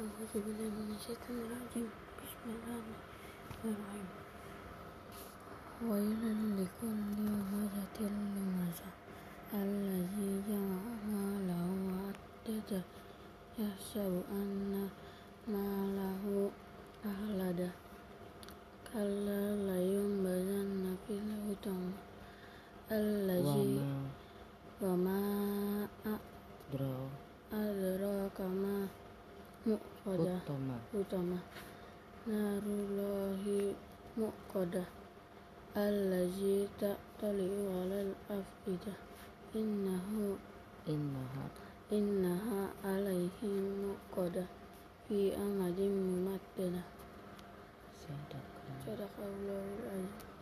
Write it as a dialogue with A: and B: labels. A: أعوذ بالله من الشيطان الرجيم بسم الله الرحمن الرحيم ويل لكل همزة لمزة الذي جمع ماله وعدده يحسب أن ماله أخلده كلا لينبذن في الحطمة الذي وما
B: Bravo.
A: أدراك ما مؤخده
B: Utama.
A: utama narullahi muqada allazi tatali'u alal afida innahu
B: Innaha.
A: innaha alayhim muqada fi amadin mumaddada
B: Sadaqah.
A: sadaqa allahu azim